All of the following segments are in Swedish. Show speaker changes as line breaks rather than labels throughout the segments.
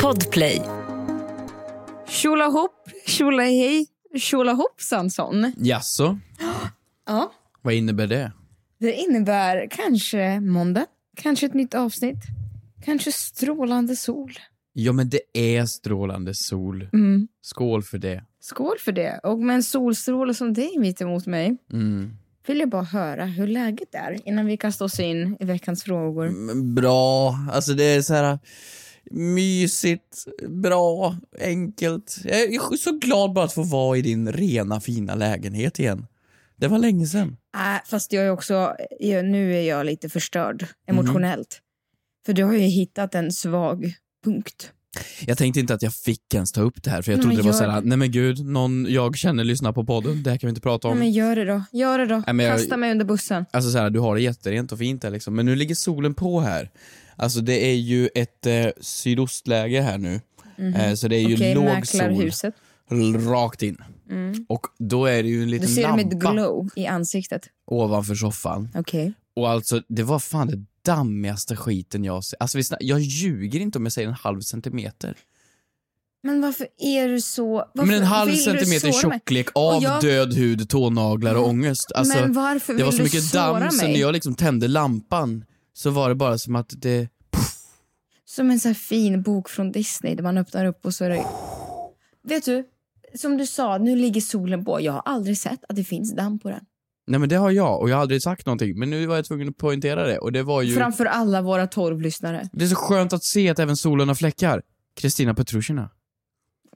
Podplay.
Tjolahopp, tjolahej, tjolahoppsanson.
Jaså?
Ja.
Vad innebär det?
Det innebär kanske måndag, kanske ett nytt avsnitt, kanske strålande sol.
Ja, men det är strålande sol.
Mm.
Skål för det.
Skål för det. Och med en solstråle som dig mitt emot mig
Mm.
vill jag bara höra hur läget är innan vi kastar oss in i veckans frågor.
Men Bra. Alltså det är så här mysigt, bra, enkelt. Jag är så glad bara att få vara i din rena fina lägenhet igen. Det var länge sedan.
Äh, fast jag är också, jag, nu är jag lite förstörd emotionellt. För du har ju hittat en svag punkt.
Jag tänkte inte att jag fick ens ta upp det här för jag
Nej,
trodde
men
det var
gör
så här,
det.
nej men gud, någon jag känner lyssnar på podden, det här kan vi inte prata om.
Nej, men gör det då. Gör det då.
men jag-
Kasta mig under bussen.
Alltså så här, du har det jätterent och fint här liksom, men nu ligger solen på här. Alltså det är ju ett eh, sydostläge här nu. Eh, så det är ju
Mhm. Okej,
låg sol
mäklarhuset. Mm.
rakt in. Och då är det ju en
Du
liten
ser det med
lampa
glow i ansiktet.
ovanför soffan.
Okej.
Och alltså, det var fan det dammigaste skiten jag har sett. Alltså vi snack, jag ljuger inte om jag säger en halv centimeter.
Men varför är du så... Varför
men en halv
vill du
centimeter
såra mig?
tjocklek av
Och jag-
död hud, tånaglar och ångest. Alltså,
men varför
det var
vill
så
du
mycket
såra
damm så
mig?
när jag liksom tände lampan så var det bara som att det...
Som en sån här fin bok från Disney där man öppnar upp och så är det... Vet du, som du sa, nu ligger solen på. Jag har aldrig sett att det finns damm på den.
Nej men det har jag och jag har aldrig sagt någonting men nu var jag tvungen att poängtera det och det var ju...
Framför alla våra torvlyssnare.
Det är så skönt att se att även solen har fläckar. Kristina Petrushina.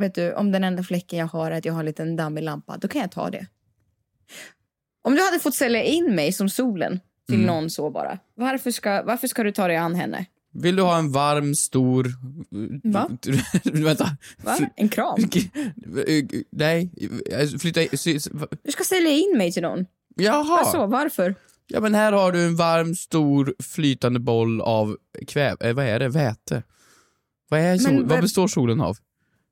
Vet du, om den enda fläcken jag har är att jag har en liten dammig lampa, då kan jag ta det. Om du hade fått sälja in mig som solen till
Mm.
någon så bara. Varför ska, varför ska du ta dig an henne?
Vill du ha en varm, stor... eh,
Va?
Vänta.
Va? En kram?
Nej, eh, flytta i- sy-
Du ska sälja in mig till någon.
Jaha!
Alltså, varför?
Ja men här har du en varm, stor, flytande boll av kväv... Eh, vad är det? Väte? Vad, är sol...
Men vad-
vad består solen av?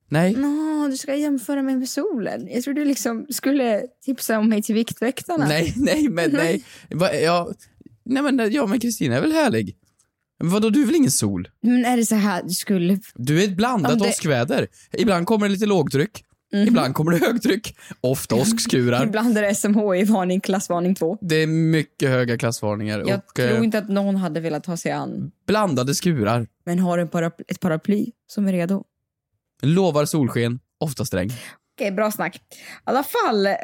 Nej?
Nå, du ska jämföra mig med solen. Jag trodde du liksom skulle tipsa om mig till Viktväktarna.
Nej, nej, men nej. Va, ja, nej men jag men Kristina är väl härlig? Men vadå, du är väl ingen sol?
Men är det så här, du skulle...
Du är ett
Om
blandat
det- Mhm.
åskväder. Ibland kommer det lite lågtryck, ibland kommer det högtryck. Ofta åskskurar.
Ibland är det SMHI-varning, klassvarning 2.
Det är mycket höga klassvarningar
Jag
och eh,
tror inte att någon hade velat ta sig an.
blandade skurar.
Men har en paraply, ett paraply som är redo.
Lovar solsken, oftast regn.
Okej, bra snack. I alla fall, eh,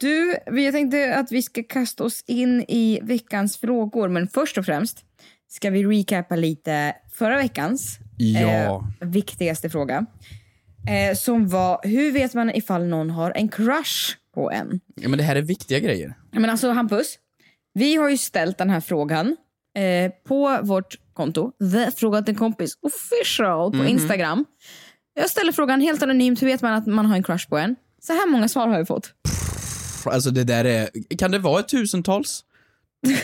du, vi- jag tänkte att vi ska kasta oss in i veckans frågor. Men först och främst ska vi recapa lite förra veckans
Ja.
eh, viktigaste fråga. Eh, som var, hur vet man ifall någon har en crush på en?
ja. Men det här är viktiga grejer.
Men alltså Hampus, vi har ju ställt den här frågan eh, på vårt konto, The Frågat en kompis official på Instagram. Jag ställer frågan helt anonymt, hur vet man att man har en crush på en? Så här många svar har jag fått.
Pff, Alltså det där är... Kan det vara ett tusentals?
Men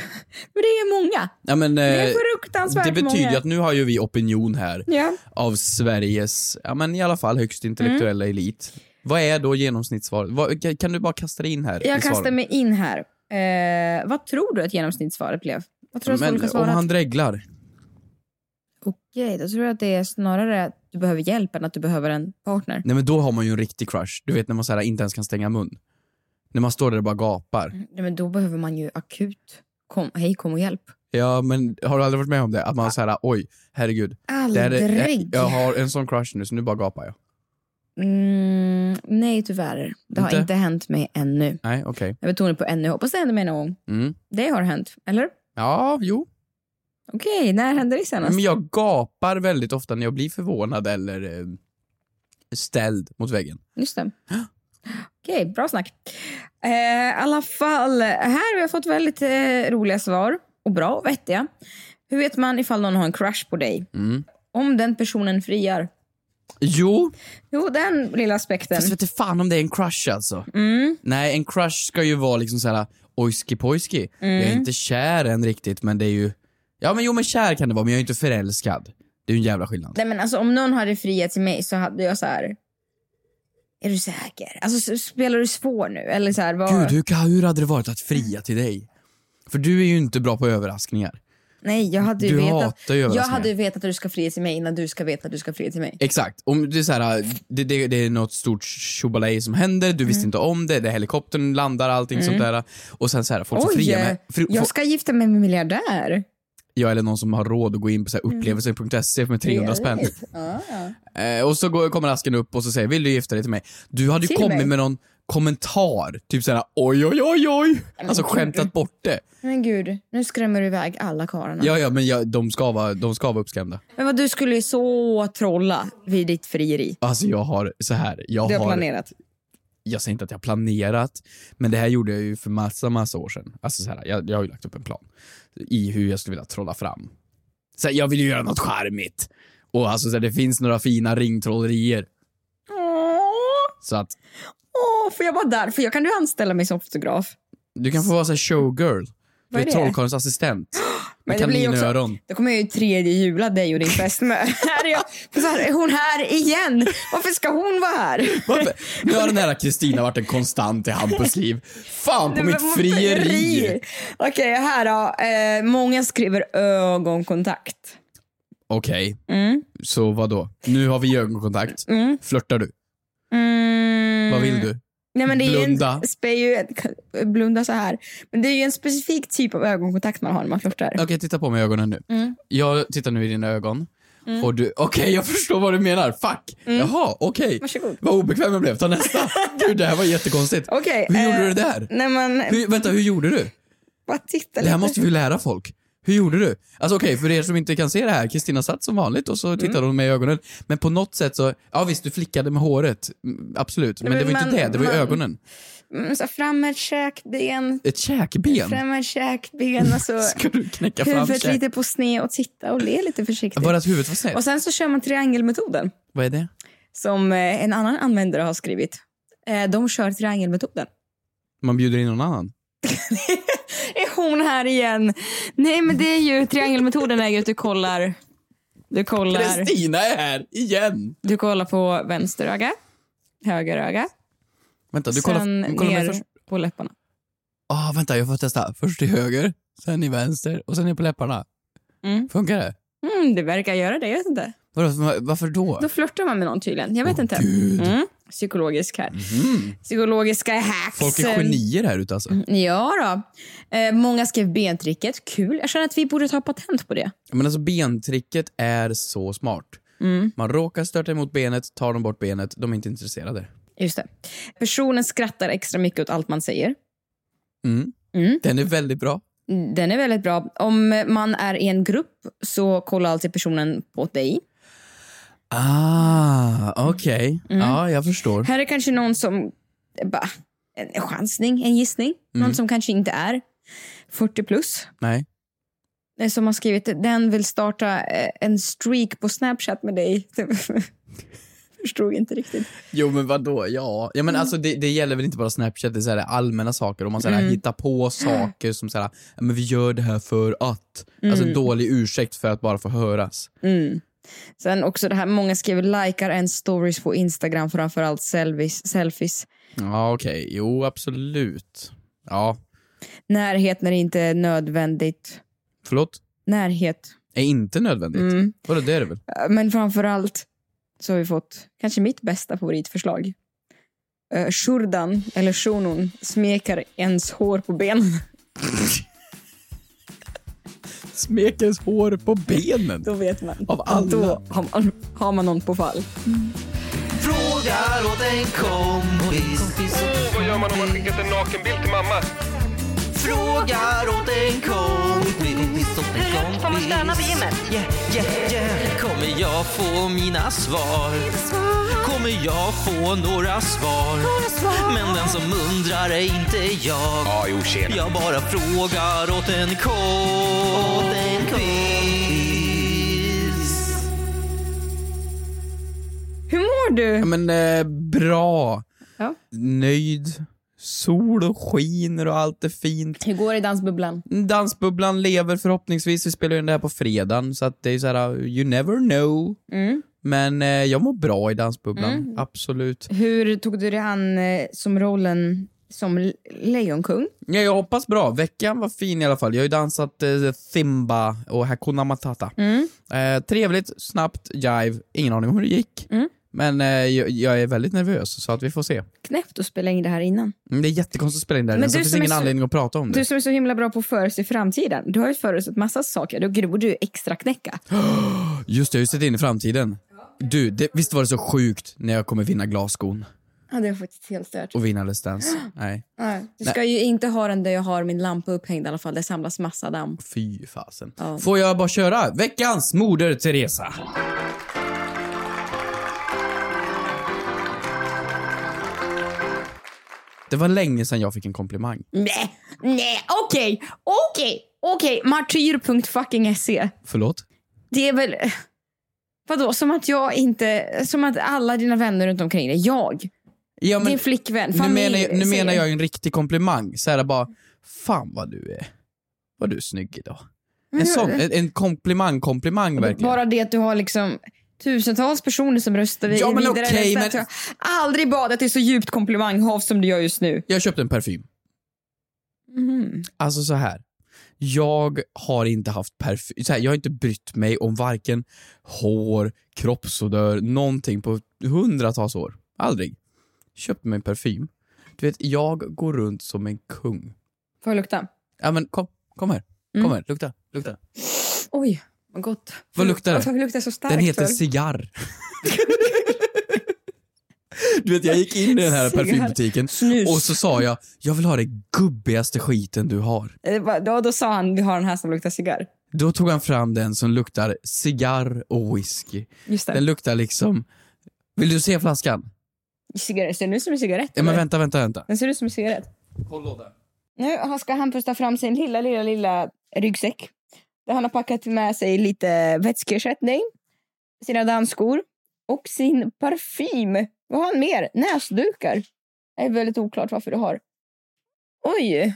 det är många.
Ja, men, eh,
Det är fruktansvärt
det betyder
många.
ju att nu har ju vi opinion här
Ja.
av Sveriges, ja men i alla fall högst intellektuella
Mm.
elit. Vad är då genomsnittssvaret? Vad, kan- kan du bara kasta dig in här? i
Jag
svaren?
kastar mig in här. Eh, vad tror du att genomsnittssvaret blev? Vad tror du att folk har
Men om
svarat?
han dreglar?
Okej, då tror jag att det är snarare att du behöver hjälp än att du behöver en partner.
Nej men då har man ju en riktig crush. Du vet när man så här inte ens kan stänga mun. När man står där och bara gapar.
Nej, men då behöver man ju akut. Kom, hej, kom och hjälp.
Ja men har du aldrig varit med om det? Att man så här, oj, herregud. Det här är,
Aldrig.
jag har en sån crush nu så nu bara gapar jag.
Mm, nej, tyvärr. Det har
Inte?
inte hänt mig ännu.
Nej okej.
Jag betonar på ännu. Hoppas det händer mig någon gång.
Mm.
Det har hänt, eller?
Ja, jo.
Okej, när hände det senast?
Men jag gapar väldigt ofta när jag blir förvånad eller eh, ställd mot väggen.
Just det. Okej, bra snack. Eh, I alla fall, här har jag fått väldigt eh, roliga svar. Och bra och vettiga. Hur vet man ifall någon har en crush på dig?
Mm.
Om den personen friar.
Jo,
Jo, den lilla aspekten. Mm.
fast vet du fan om det är en crush alltså. Nej, en crush ska ju vara liksom såhär ojski-pojski.
Mm.
Jag är inte kär än riktigt, men det är ju... Ja, men jo, men kär kan det vara, men jag är inte förälskad. Det är ju en jävla skillnad.
Nej, men alltså, om någon hade friat till mig så hade jag så här... Är du säker? Alltså, s- spelar du svår nu? Eller så här, vad...
Gud, hur, hur hade det varit att fria till dig? För du är ju inte bra på överraskningar.
Nej, jag hade ju
Du
vetat.
hatar ju
jag
överraskningar.
hade ju vetat att du ska fria till mig innan du ska veta att du ska fria till mig.
Exakt. Om det, är så här, det, det, det är något stort tjobalej som händer, du
Mm.
visste inte om det, det är helikoptern landar, allting sånt där. Och sen så här, folk som
Oj,
friar med... Fri,
jag
få-
ska gifta mig med en miljardär.
jag eller någon som har råd att gå in på så
Mm.
här upplevelser.se med 300 spänn.
Trevligt. Ja, ja.
Eh, och så går, kommer asken upp och så säger vill du gifta dig till mig? Du hade ju
Till
kommit
mig?
med någon kommentar, typ såhär oj oj oj oj. Alltså skämtat bort det.
Men gud, nu skrämmer du iväg alla karlarna.
Ja, ja men jag, de, ska vara, de ska vara uppskrämda.
Men vad du skulle ju så trolla vid ditt frieri.
Alltså jag har så här, jag
Du
har,
har planerat.
jag säger inte att jag har planerat, men det här gjorde jag ju för massa, massa år sedan. Alltså så här, jag, jag har ju lagt upp en plan i hur jag skulle vilja trolla fram. Så här, jag vill ju göra något charmigt. Och alltså så här, det finns några fina ringtrollerier.
Åh,
Så att
åh, får jag vara där? För jag kan du anställa mig som fotograf?
du kan få vara så här showgirl. Du
Vad är
är
det?
trollkarlens assistent.
Men
Med
det blir ju också-
kaninöron.
Då kommer jag ju tredje jula dig och din fästmö. Här är, jag, så här, är hon här igen? Varför ska hon vara här?
Varför? Nu har den här Kristina varit en konstant i Hampus liv. Fan på
Du,
mitt
men-
frieri!
Okej, här då. Eh, många skriver ögonkontakt.
Okej,
Mm.
så vad då? Nu har vi ögonkontakt.
Mm.
Flörtar du?
Mm.
Vad vill du?
Nej, men det är Ju
Blunda.
en, spe- ju en, blunda så här. Men det är ju en specifik typ av ögonkontakt man har när man flörtar.
Okej, titta på mig i ögonen nu.
Mm.
Jag tittar nu i dina ögon. Och du, okej jag förstår vad du menar. Fuck!
Mm.
Jaha, okej.
Varsågod.
Vad obekväm jag blev. Ta nästa. Gud, det här var jättekonstigt.
Okej.
Hur gjorde
eh,
du det där?
Nej men,
Hur, vänta, hur gjorde du?
bara titta
Det här
lite.
måste vi ju lära folk. Hur gjorde du? Alltså okej, för er som inte kan se det här, Kristina satt som vanligt och
Mm.
så tittade hon mig i ögonen. Men på något sätt så, ja visst du flickade med håret, Mm, absolut. Men,
Men
det var
man-
inte det, det var ju
man-
ögonen.
Mm, så här, fram med ett käkben,
Ett käkben.
fram med ett käkben och så
Ska du knäcka fram
alltså huvudet
käk?
lite på sned och titta och le lite försiktigt.
Bara att huvudet var snett?
Och sen så kör man triangelmetoden
Vad är det?
som eh, en annan användare har skrivit. Eh, De kör triangelmetoden.
Man bjuder in någon annan.
Är hon här igen? Nej men det är ju triangelmetoden är ju att du kollar du kollar,
Kristina är här igen!
du kollar på vänster öga, höger öga,
Vänta, du
sen
kollar, kollar mig
ner
först.
på läpparna.
Ah, vänta, jag får testa. Först till höger, sen i vänster och sen ner på läpparna.
Mm.
Funkar det?
Mm, det verkar göra det, jag vet inte.
Vadå, varför då?
Då flörtar man med någon tydligen. Jag vet inte.
Gud.
Mm. Psykologisk här.
Mm.
Psykologiska hacks.
Folk är genier här ute alltså.
Ja då. Eh, många skrev bentricket. Kul. Jag känner att vi borde ta patent på det.
Men alltså bentricket är så smart.
Mm,
Man råkar störta emot benet, tar de bort benet, de är inte intresserade.
Just det. Personen skrattar extra mycket åt allt man säger.
Mm.
Mm.
Den är väldigt bra.
Den är väldigt bra. Om man är i en grupp så kollar alltid personen på dig.
Ah, okej.
Mm.
Ja, jag förstår.
Här är kanske någon som... eh, Bara, en chansning, en gissning. Någon som kanske inte är 40 plus.
Nej.
Eh, Som har skrivit den vill starta eh, en streak på Snapchat med dig. Typ. Förstod inte riktigt.
Jo, men vadå? Ja, ja men alltså det, det gäller väl inte bara Snapchat, det är så här allmänna saker. Om man så här
Mm.
hittar på saker som så här, "Ja, men vi gör det här för att. Alltså
Mm.
en dålig ursäkt för att bara få höras.
Sen också det här, många skriver likar en stories på Instagram, framförallt selfies. selfies.
Ja, okej. Jo, absolut. Ja,
Närhet när det inte är nödvändigt.
förlåt.
Närhet.
Är inte nödvändigt.
Mm.
Vadå, det är det väl?
Eh, Men framförallt så har vi fått kanske mitt bästa favoritförslag. Eh, Shurdan, eller Shunun, smekar ens hår på benen.
Smekens hår på benen.
Då vet man.
Av alla.
Då har man, har man någon på fall.
Frågar åt en kompis.
Vad gör man om man skickat en nakenbild till mamma?
Frågar åt en kompis. Åt en kompis.
får man stöna vid gymmet?
Yeah, yeah, yeah. Kommer jag få mina svar? Kommer jag få några svar? Men den som undrar är inte jag.
Ja, jo tjena.
Jag bara frågar åt en kompis.
Hur mår
Ja,
du?
men eh, bra.
Ja.
Nöjd. Sol och skiner och allt är fint.
Hur går det i dansbubblan?
Dansbubblan lever förhoppningsvis. Vi spelar ju in det här på fredagen, så att det är så här, uh, you never know. Men eh, jag mår bra i dansbubblan, absolut.
Hur tog du dig an eh, som rollen som le- lejonkung.
Ja, jag hoppas bra. Veckan var fin i alla fall. Jag har ju dansat eh, Simba och Hakuna Matata. Eh, trevligt, snabbt, jive. Ingen aning om hur det gick. Men eh, jag, jag är väldigt nervös, så att vi får se.
Knäppt att spela in det här innan.
Mm, Det är jättekonstigt att spela in det här,
Men
men det
du
finns
som är
ingen
så-
anledning att prata om det.
Du som är så himla bra på att förutse framtiden. Du har ju förutsett massa saker. Då borde du extra knäcka.
Just det, jag har ju sett in i framtiden. Du, det, visst var det så sjukt när jag kommer vinna glasskon
Ja, det är faktiskt helt stört.
och vinna Let's Dance? Nej,
Nej, Du ska ju inte ha den där jag har min lampa upphängd i alla fall. Det samlas massa damm.
fy fasen.
Ja.
Får jag bara köra? Veckans moder Teresa. Det var länge sedan jag fick en komplimang.
Nej, nej, okej, okej, okej. Martyr.fucking.se.
Förlåt?
E. Det är väl... Vadå, som att jag inte... Som att alla dina vänner runt omkring dig, jag,
Ja,
din flickvän,
nu
familj...
menar, jag, nu
säger-
menar jag en riktig komplimang. Så här bara, fan vad du är. Vad du är snygg idag. En, sån, en, en komplimang, komplimang verkligen.
Bara det att du har liksom tusentals personer som röstar vid-
Ja, men
vidare.
okej,
resten
men-
att jag aldrig badat i så djupt komplimanghav som du gör just nu.
Jag köpte en parfym.
Mhm.
Alltså så här. Jag har inte haft parfym, så här, jag har inte brytt mig om varken hår, kroppsodör, någonting på hundratals år. Aldrig. Köpte mig en parfym. Du vet, jag går runt som en kung.
Får jag lukta?
Ja men kom, kom här. Kom
Mm.
här, lukta, lukta.
Oj, vad gott.
Vad luktar det?
Varför luktar det så starkt?
Den heter
för?
cigarr. du vet, jag gick in i den här
Cigarr.
parfymbutiken
Snus.
och så sa jag, jag vill ha det gubbigaste skiten du har.
Eh, va- Då, då sa han, vi har den här som luktar cigarr.
Då tog han fram den som luktar cigarr och whisky.
Just det.
Den luktar liksom... Vill du se flaskan?
Cigarett. Ser den ut som en cigarett?
Ja, men
eller?
vänta, vänta, vänta.
Den ser ut som en cigarett. Nu har- ska han pusta fram sin lilla, lilla, lilla ryggsäck. Där han har packat med sig lite vätskeersättning, sina dansskor och sin parfym. Vad har han mer? Näsdukar. Det är väldigt oklart varför du har. Oj!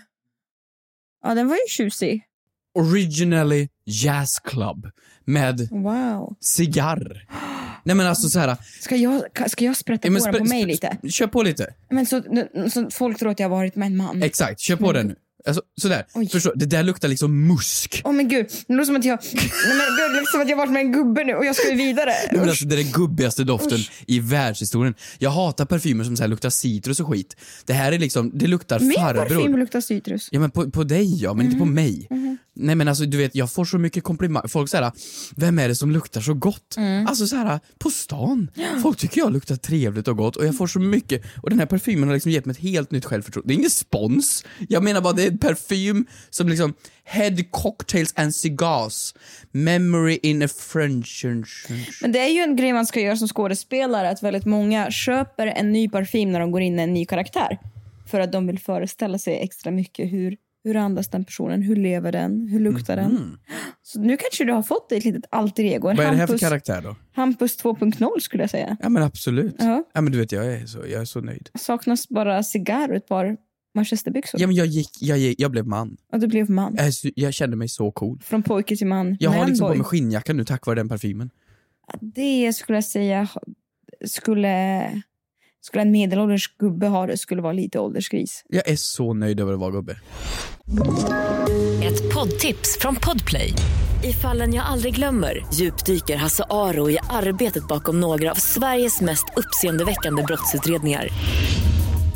Ja, den var ju tjusig.
Originally Jazz Club med
Wow.
cigarr. Nej men alltså så här.
Ska jag, ka- ska jag sprätta
ja, men
på
spr-
den på mig
spr-
lite?
spr- Kör på lite.
Men så, nu- så folk tror att jag har varit med en man.
Exakt, kör på den nu. Alltså, sådär.
Mm. Oj.
Förstår, det där luktar liksom musk.
Åh men gud, det låter som att jag, nej, men, det låter som att jag varit med en gubbe nu och jag ska ju vidare.
Nej, men alltså, det är den gubbigaste doften i världshistorien. Jag hatar parfymer som så här luktar citrus och skit. Det här är liksom, det luktar
Min
farbror.
parfym Mm-hmm. luktar citrus.
Ja men på, på dig ja, men inte på mig. Nej men alltså du vet, jag får så mycket komplimanger. Folk säger vem är det som luktar så gott?
Mm.
Alltså så här på stan. Folk tycker jag luktar trevligt och gott och jag får så mycket. Och den här parfymen har liksom gett mig ett helt nytt självförtroende. Det är ingen spons. Jag menar bara det är en parfym som liksom Head cocktails and cigars. Memory in a French...
Men det är ju en grej man ska göra som skådespelare att väldigt många köper en ny parfym när de går in i en ny karaktär. För att de vill föreställa sig extra mycket hur, hur andas den personen, hur lever den, hur luktar den. Så nu kanske du har fått ett litet alter ego. En
Mm-hmm. Mm. Vad är det här för
Hampus,
karaktär då?
Hampus 2.0 skulle jag säga.
Ja men absolut.
Ja.
Ja men du vet jag är så, jag är så nöjd.
Saknas bara cigarr och ett par manchesterbyxor.
Ja men jag gick, jag, gick, jag blev man.
Och du blev man.
Jag, är så- jag kände mig så cool.
Från pojke till man.
Jag har liksom på
Manboy.
mig skinnjacka nu tack vare den parfymen.
Det skulle jag säga skulle, skulle en medelålders gubbe ha det skulle vara lite åldersgris.
Jag är så nöjd över att vara gubbe.
Ett poddtips från Podplay. I fallen jag aldrig glömmer djupdyker Hasse Aro i arbetet bakom några av Sveriges mest uppseendeväckande brottsutredningar.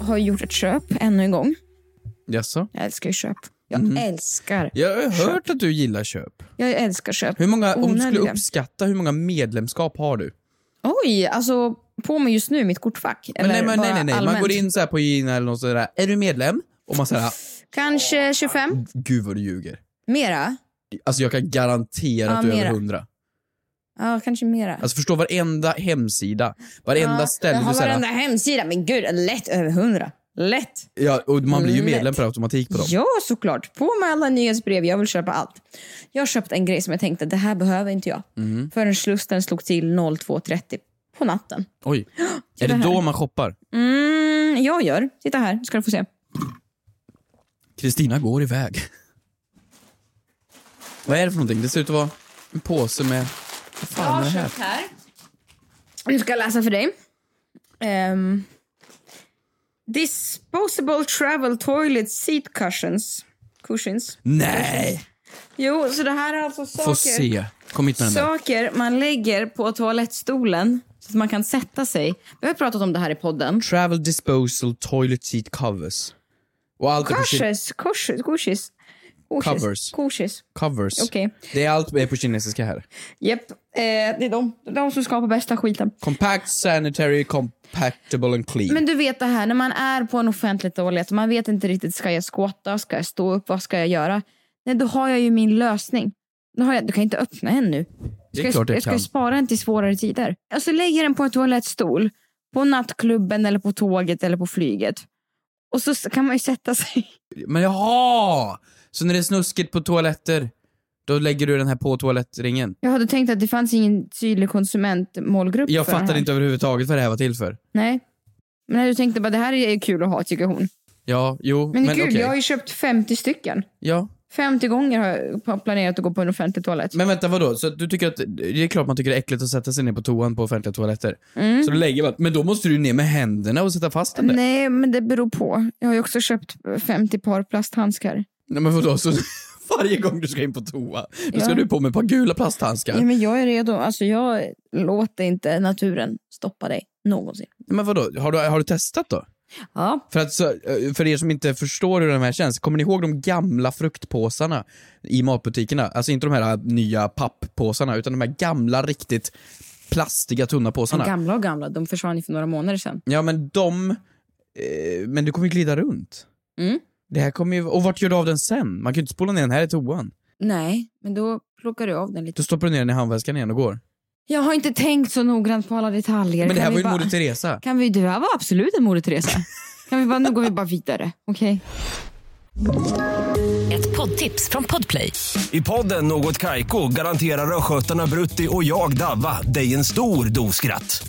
har gjort ett köp ännu en gång.
Jaså?
Jag älskar ju köp. Jag
Mhm.
älskar.
Jag har hört att du gillar köp.
Jag älskar köp.
Hur många, om du skulle
Onödiga.
uppskatta, hur många medlemskap har du?
Oj, alltså på mig just nu mitt kortfack.
Men nej,
eller
men, nej,
bara
nej, nej. Man
allmänt.
går in så här på Gina eller något sådär, är du medlem? Och man säger,
Kanske 25?
gud vad du ljuger.
Mera?
Alltså jag kan garantera
Ja,
att du är över
mera.
100.
Ja, kanske mera.
Alltså förstå varenda hemsida, varenda
ja,
ställe
jag
du
har
såhär,
varenda hemsida. Men gud, lätt över 100. Lätt!
Ja, och man blir ju
Lätt.
medlem per automatik på dem.
Ja, såklart. På med alla nyhetsbrev. Jag vill köpa allt. Jag köpte en grej som jag tänkte, det här behöver inte jag.
Mm.
Förrän slussen slog till 02.30 på natten.
Oj. Är det då man shoppar?
Mm, jag gör. Titta här, ska du få se.
Kristina går iväg. Vad är det för någonting? Det ser ut att vara en påse med... Vad fan är det här?
här. Nu ska jag läsa för dig. Ehm, disposable travel toilet seat cushions. Cushions.
Nej!
Jo, så det här är alltså saker.
Få se. Kom hit med den där.
Saker man lägger på toalettstolen så att man kan sätta sig. Vi har pratat om det här i podden.
Travel disposal toilet seat covers. Och allt är på kin-
Kurses, kurses, kurses.
Covers.
Kurses.
covers.
Okej.
Det är allt är på kinesiska här.
Japp, eh, det är de. De som skapar bästa skiten.
Compact, sanitary, compactable and clean.
Men du vet det här när man är på en offentlig toalett och man vet inte riktigt, ska jag squatta, ska jag stå upp, vad ska jag göra? Nej, då har jag ju min lösning. Då har jag, du kan inte öppna en nu.
Det är
Ska
klart jag
jag ska
kan.
ju spara den till svårare tider. Och så lägger jag den på en toalettstol, på nattklubben eller på tåget eller på flyget. Och så s- kan man ju sätta sig.
Men jaha! Så när det är snuskigt på toaletter, då lägger du den här på toalettringen?
Jag hade tänkt att det fanns ingen tydlig konsumentmålgrupp
Jag
för den
fattar
här.
inte överhuvudtaget vad det här var till för.
Nej. Men när du tänkte bara det här är ju kul att ha tycker hon.
Ja, jo,
Men
men,
det är kul,
okej.
jag har ju köpt 50 stycken.
Ja.
50 gånger har jag planerat att gå på en offentlig toalett.
Men vänta, vadå? Så du tycker att, det är klart man tycker det är äckligt att sätta sig ner på toan på offentliga toaletter. Så du lägger man, men då måste du ner med händerna och sätta fast den där. Nej,
Mm. Nej, men det beror på. Jag har ju också köpt 50 par plasthandskar.
men vadå? Så varje gång du ska in på toa, då ska
Ja.
du på med ett par gula plasthandskar.
Ja. men jag är redo. Alltså, jag låter inte naturen stoppa dig någonsin.
Men vadå? Har du, har du testat då?
Ja.
För, att, så- för er som inte förstår hur den här känns, kommer ni ihåg de gamla fruktpåsarna i matbutikerna? Alltså inte de här nya papppåsarna, utan de här gamla riktigt plastiga tunna påsarna.
Gamla och gamla, de försvann ju för några månader sedan.
Ja men de, eh, men du kommer ju glida runt.
Mm.
Det här kommer ju, och vart gör du av den sen? Man kan ju inte spola ner den här i toan.
Nej, men då plockar du av den lite.
Då stoppar du ner den i handväskan igen och går.
Jag har inte tänkt så noggrant på alla detaljer.
Men det
Kan
här
vi
var ju
bara-
Moder Teresa.
Kan vi, det här var absolut en Moder Teresa. kan vi bara, nu går vi bara vidare. Okej.
Ett poddtips från Podplay.
I podden Något Kaiko garanterar östgötarna Brutti och jag, Davva, dig en stor dos skratt.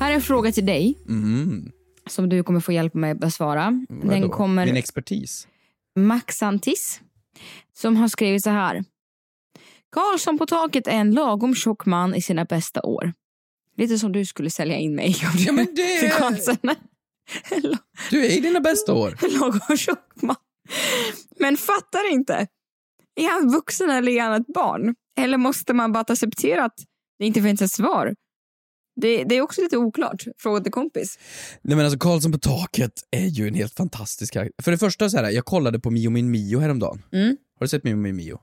Här är en fråga till dig. Som du kommer få hjälp med att besvara. Den
Mm. Vadå?
kommer
Min expertis.
Maxantis. Som har skrivit så här. Karlsson på taket är en lagom tjock man i sina bästa år. Lite som du skulle sälja in mig om
Ja, men det-
till konsten. En la-
Du är i dina bästa år.
en lagom tjock man. Men fattar inte. Är han vuxen eller är han ett barn? Eller måste man bara acceptera att det inte finns ett svar? Det, det är också lite oklart. Fråga till kompis.
Nej men alltså Karlsson på taket är ju en helt fantastisk karaktär. För det första så här, jag kollade på Mio min Mio häromdagen.
Mm.
Har du sett Mio min Mio?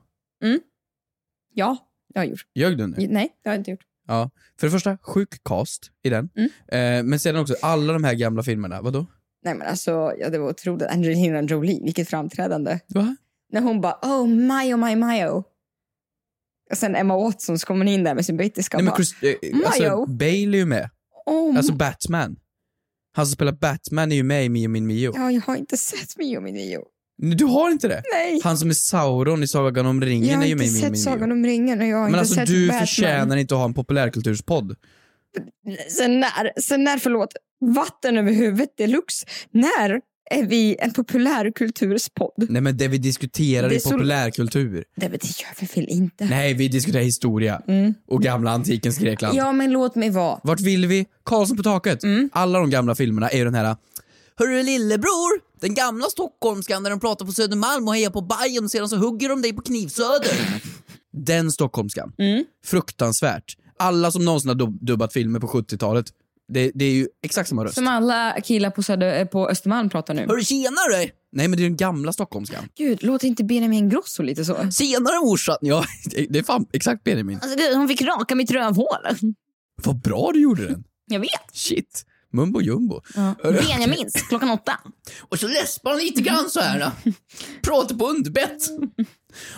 Ja, det har jag gjort.
Ljög du nu?
Nej, det har jag inte gjort.
Ja. För det första, sjuk cast i den.
Mm.
Eh, men sedan också alla de här gamla filmerna, vadå?
Nej men alltså, ja, det var otroligt. Angelina Jolie, vilket framträdande.
Va?
När hon bara oh my oh my my oh. Och sen Emma Watson så kommer hon in där med sin brittiska och
Nej men
bara,
Chris, eh, alltså
Mayo.
Bale är ju med.
oh,
Alltså Batman. Han som spelar Batman är ju med i Mio min Mio.
ja, jag har inte sett Mio min Mio.
Nej, Du har inte det?
Nej,
Han som är Sauron i Sagan om ringen
jag har
är ju
inte
med i Mio min
sett
Mio.
Sagan om ringen och jag har
men
inte
alltså
sett
du
Batman.
förtjänar inte att ha en populärkulturspodd.
Sen när, sen när, förlåt, vatten över huvudet deluxe. När är vi en populärkulturspodd?
Nej men det vi diskuterar
Det
är
är så-
populärkultur.
Nej men det gör vi väl inte?
Nej, vi diskuterar historia. Och gamla antikens Grekland.
Mm. Ja men låt mig vara.
Vart vill vi? Karlsson på taket.
Mm.
Alla de gamla filmerna är ju den här Hörru lillebror, den gamla stockholmskan där de pratar på Södermalm och hejar på Bajen och sedan så hugger de dig på Knivsöder.
Mm.
den stockholmskan. Fruktansvärt. Alla som någonsin har dub- dubbat filmer på 70-talet Det, det är ju exakt samma röst.
Som alla killar på, Söder, eh, på Östermalm pratar nu.
Hörru tjenare! Nej men det är den gamla stockholmskan.
Gud, låter inte Benjamin Grosso lite så?
Senare morsan! Ja, det- det är fan exakt Benjamin.
Alltså, gud, hon fick raka mitt rövhål.
Vad bra du gjorde den.
Jag vet.
Shit. Mumbo jumbo.
Ja. Benjamins, klockan åtta.
Och så läspar han lite grann så här. då. Pratar på underbett.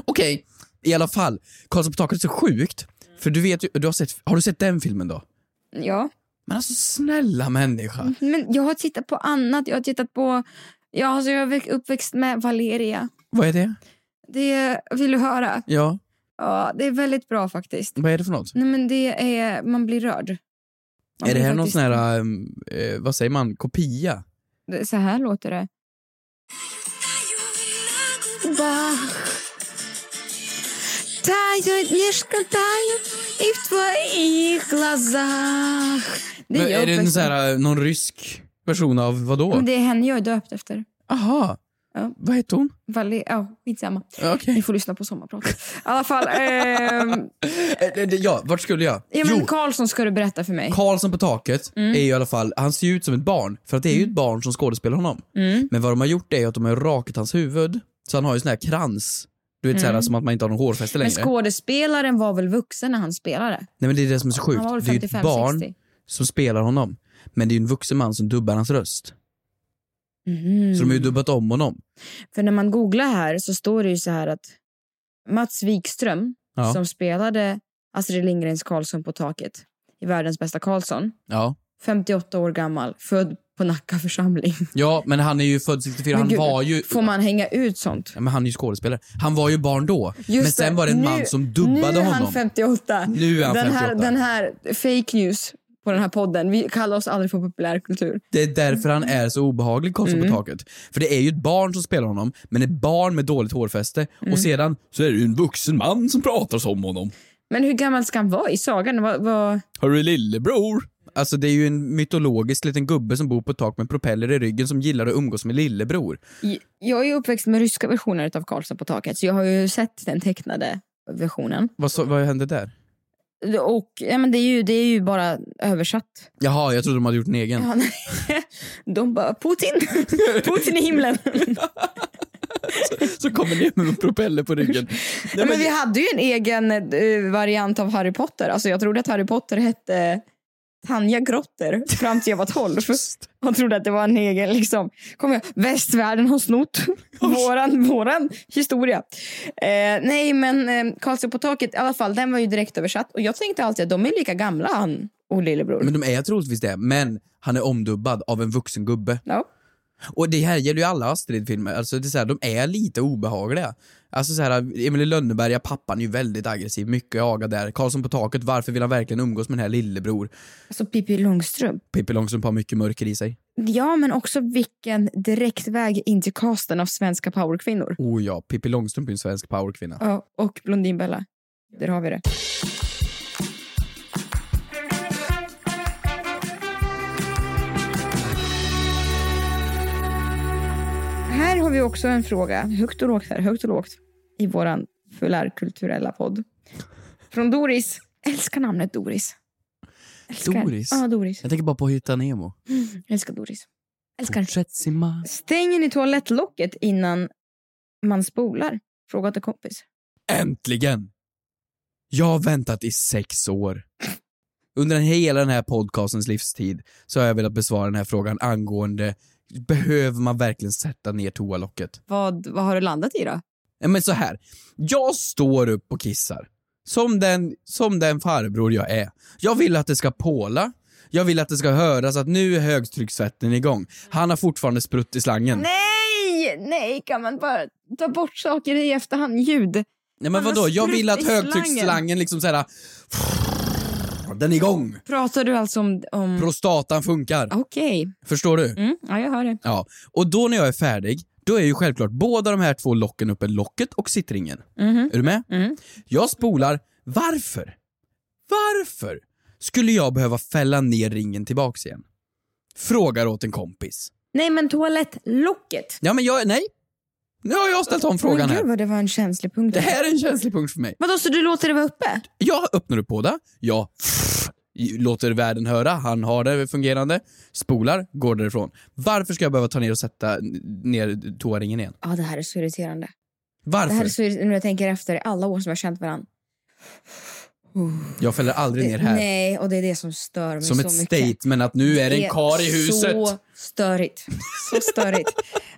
Okej, i alla fall. Karlsson på taket är så sjukt. För du vet ju, du har, sett, har du sett den filmen då?
Ja.
Men alltså snälla människa.
Men jag har tittat på annat. Jag har tittat på... Ja, alltså, jag är uppväxt med Valeria.
Vad är det?
Det vill du höra?
Ja,
Ja, det är väldigt bra faktiskt.
vad är det för något?
Nej, men det är... Man blir rörd. Man
är det
blir
här någon
faktiskt-
sån här, ehm, eh, vad säger man, kopia?
Det- Så här låter det. Тает нежка тает и в твоих глазах
Men
jag
är det en
uppväxt
sån här, eh, någon rysk version av vad då?
med. Det är henne jag är döpt efter.
Aha.
Ja.
Vad heter hon?
Valle- ja, skitsamma.
Okej.
Ni får lyssna på sommarpratet. I alla fall. ehm,
Eh, eh, det- Ja, vart skulle jag?
ja, men Mm. Karlsson ska du berätta för mig.
Karlsson på taket är ju i alla fall, han ser ju ut som ett barn. För att det är ju
Mm.
ett barn som skådespelar honom. Men vad de har gjort är ju att de har rakat hans huvud. Så han har ju sån här krans. Du vet så här, som att man inte har någon hårfäste
Mm. Men
längre.
skådespelaren var väl vuxen när han spelade?
Nej men det är det som är så sjukt.
Han var väl
det är ju ett
55,
barn
60.
som spelar honom. Men det är ju en vuxen man som dubbar hans röst.
Mm.
Så de har ju dubbat om honom.
För när man googlar här så står det ju så här att Mats Wikström
Ja.
som spelade Astrid Lindgrens Karlsson på taket i Världens bästa Karlsson,
Ja.
58 år gammal, född på Nacka församling.
ja, men han är ju född 64.
Men
Han
gud,
var ju...
Får man hänga ut sånt?
Ja, men han är ju skådespelare. Han var ju barn då.
Just
men sen var det en
nu-
man som dubbade
Nu är han
honom.
58.
Nu är han
den,
58.
Här, den här fake news på den här podden. Vi kallar oss aldrig för populärkultur.
Det är därför han är så obehaglig, Karlsson på taket. För det är ju ett barn som spelar honom, men ett barn med dåligt hårfäste. Och sedan så är det ju en vuxen man som pratar som honom.
Men hur gammal ska han vara i sagan? Vad- vad-
Hörru lillebror! Alltså det är ju en mytologisk liten gubbe som bor på ett tak med propeller i ryggen som gillar att umgås med lillebror.
Jag är uppväxt med ryska versioner av Karlsson på taket, så jag har ju sett den tecknade versionen.
Vad, så, vad hände där?
Och ja, men det, är ju, det är ju bara översatt.
Jaha, jag trodde de hade gjort en egen.
Ja, nej. De bara Putin, Putin i himlen.
Så kommer ner med en propeller på ryggen. Nej,
men,
men,
vi hade ju en egen eh, variant av Harry Potter. Alltså, jag trodde att Harry Potter hette Tanja Grotter fram till jag var 12. Jag trodde att det var en egen, liksom. Kom jag, västvärlden har snott våran, våran historia. Eh, nej, men eh, Karlsson på taket, i alla fall, den var ju direkt översatt. Och jag tänkte alltid att de är lika gamla, han och lillebror.
men de är troligtvis det, men han är omdubbad av en vuxen gubbe.
ja.
Och det här gäller ju alla Astrid-filmer, alltså det är så här, de är lite obehagliga. Alltså så här, Emil i Lönneberga, pappan är ju väldigt aggressiv, mycket aga där. Karlsson på taket, varför vill han verkligen umgås med den här lillebror?
Alltså Pippi Långstrump.
Pippi Långstrump har mycket mörker i sig.
Ja, men också vilken direktväg in till casten av svenska powerkvinnor.
Oh ja, Pippi Långstrump är ju en svensk powerkvinna.
Ja, och Blondinbella. Där har vi det. Här har vi också en fråga, högt och lågt här, högt och lågt, i våran fullärkulturella podd. Från Doris. Älskar namnet Doris. Älskar.
Doris?
Ja, Doris.
Jag tänker bara på Hitta Nemo.
Älskar Doris. Älskar.
Fortsätt simma.
Stänger ni toalettlocket innan man spolar? Fråga till kompis.
Äntligen! Jag har väntat i sex år. Under hela den här podcastens livstid så har jag velat besvara den här frågan angående behöver man verkligen sätta ner toalocket?
Vad, vad har du landat i då?
Nej, Men så här. jag står upp och kissar. Som den, som den farbror jag är. Jag vill att det ska påla. Jag vill att det ska höras att nu är högtryckssvetten igång. Han har fortfarande sprutt i slangen. Nej,
Nej! Nej, kan man bara ta bort saker i efterhand? Ljud.
men
han har
vadå? Jag
sprutt
vill att
i slangen.
högtrycksslangen liksom såhär... Den är igång!
Pratar du alltså om... om...
Prostatan funkar.
Okej.
Förstår du?
Mm, ja, jag hör det.
Ja. Och då när jag är färdig, då är ju självklart båda de här två locken uppe, locket och sittringen. Är du med?
Mm.
Jag spolar. Varför? Varför skulle jag behöva fälla ner ringen tillbaks igen? Frågar åt en kompis.
Nej, men toalettlocket.
Ja, men jag... Nej. Nu har jag ställt om frågan
Men gud
här.
vad det var en känslig punkt.
Det här är en känslig punkt för mig.
Vadå, så du låter det vara uppe?
Jag öppnar upp båda, jag låter världen höra, han har det fungerande, spolar, går därifrån. Varför ska jag behöva ta ner och sätta ner toaringen igen?
Ja, det här är så irriterande. Det
Varför?
här är så irriterande. Nu jag tänker efter alla år som jag har känt varandra.
Jag fäller aldrig ner här.
Nej, och det är det som stör mig
Som
så
ett
mycket.
statement att nu är det en kar i
Så
huset.
störigt. Så störigt.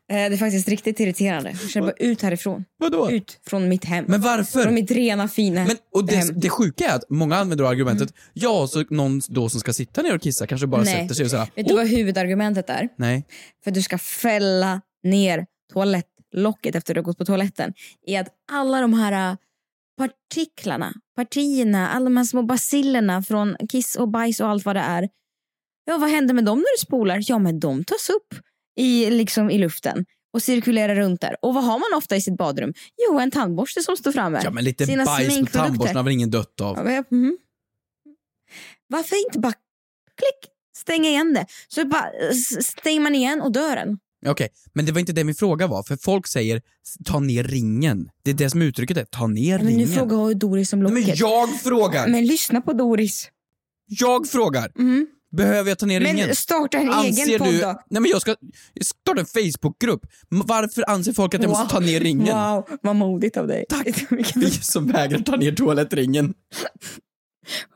Eh, det är faktiskt riktigt irriterande. Jag känner bara ut härifrån.
Vadå?
Ut från mitt hem.
Men varför?
Från mitt rena fina
Men, och det,
hem.
det sjuka är att många använder då argumentet, ja, så någon då som ska sitta ner och kissa kanske bara
Mm. Nej.
sätter sig och säger
Vet du vad huvudargumentet är?
nej.
För att du ska fälla ner toalettlocket efter du har gått på toaletten. Är att alla de här äh, partiklarna, partierna, alla de här små basillerna från kiss och bajs och allt vad det är. Ja, vad händer med dem när du spolar? Ja, men de tas upp i, liksom, i luften och cirkulerar runt där. Och vad har man ofta i sitt badrum? Jo, en tandborste som står framme.
Ja men lite
Sina
bajs på
sminkprodukter.
tandborsten har väl ingen dött av?
Ja, men jag- mhm. Varför inte bara klick, stänga igen det? Så bara s- stänger man igen och dör den.
Okej, men det var inte det min fråga var, för folk säger ta ner ringen. Det är det som uttrycket är, ta ner
Ja, Men nu
ringen.
frågar jag ju Doris om
Nej,
locket.
men jag frågar!
Men lyssna på Doris.
Jag frågar!
Mm.
Behöver jag ta ner ringen?
Men starta en egen podd
du...
då.
Nej men jag ska starta en Facebookgrupp. M- Varför anser folk att jag måste ta ner ringen?
Wow, vad modigt av dig.
Tack. Vi
Vi-
som vägrar ta ner toalettringen.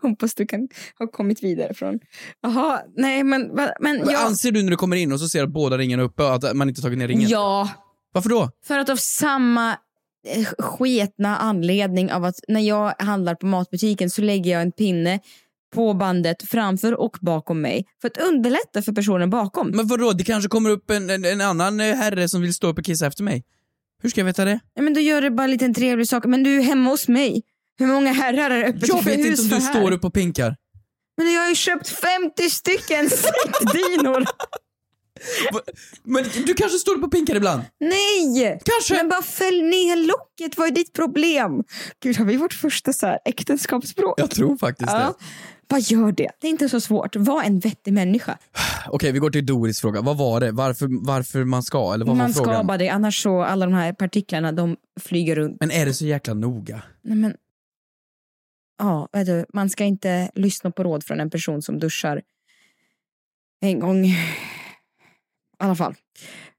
Hoppas du kan ha kommit vidare från... Jaha, nej men... va- men
Men
jag...
Anser du när du kommer in och så ser att båda ringarna är uppe och att man inte tagit ner ringen?
Ja,
Varför då?
för att av samma eh, sketna anledning av att när jag handlar på matbutiken så lägger jag en pinne på bandet framför och bakom mig för att underlätta för personen bakom.
Men vadå? Det kanske kommer upp en, en, en annan eh, herre som vill stå upp och kissa efter mig. Hur ska jag veta det?
Nej, men då gör det bara en liten trevlig sak. Men du är hemma hos mig. Hur många herrar är öppet
Jag vet
hus
inte om
för här?
du står upp och pinkar.
Men jag har ju köpt 50 stycken svettdynor.
Men du kanske står upp och pinkar ibland?
Nej!
Kanske.
Men bara fäll ner locket, vad är ditt problem? Gud, har vi vårt första så här äktenskapsspråk?
Jag tror faktiskt det.
Ja. Bara gör det. Det är inte så svårt. Var en vettig människa.
Okej, vi går till Doris fråga. Vad var det? Varför, varför man ska? Eller vad var
Man
frågan?
ska bara det, annars så alla de här partiklarna de flyger runt.
Men är det så jäkla noga?
Nej, men... Ja, vet du, man ska inte lyssna på råd från en person som duschar en gång. I alla fall.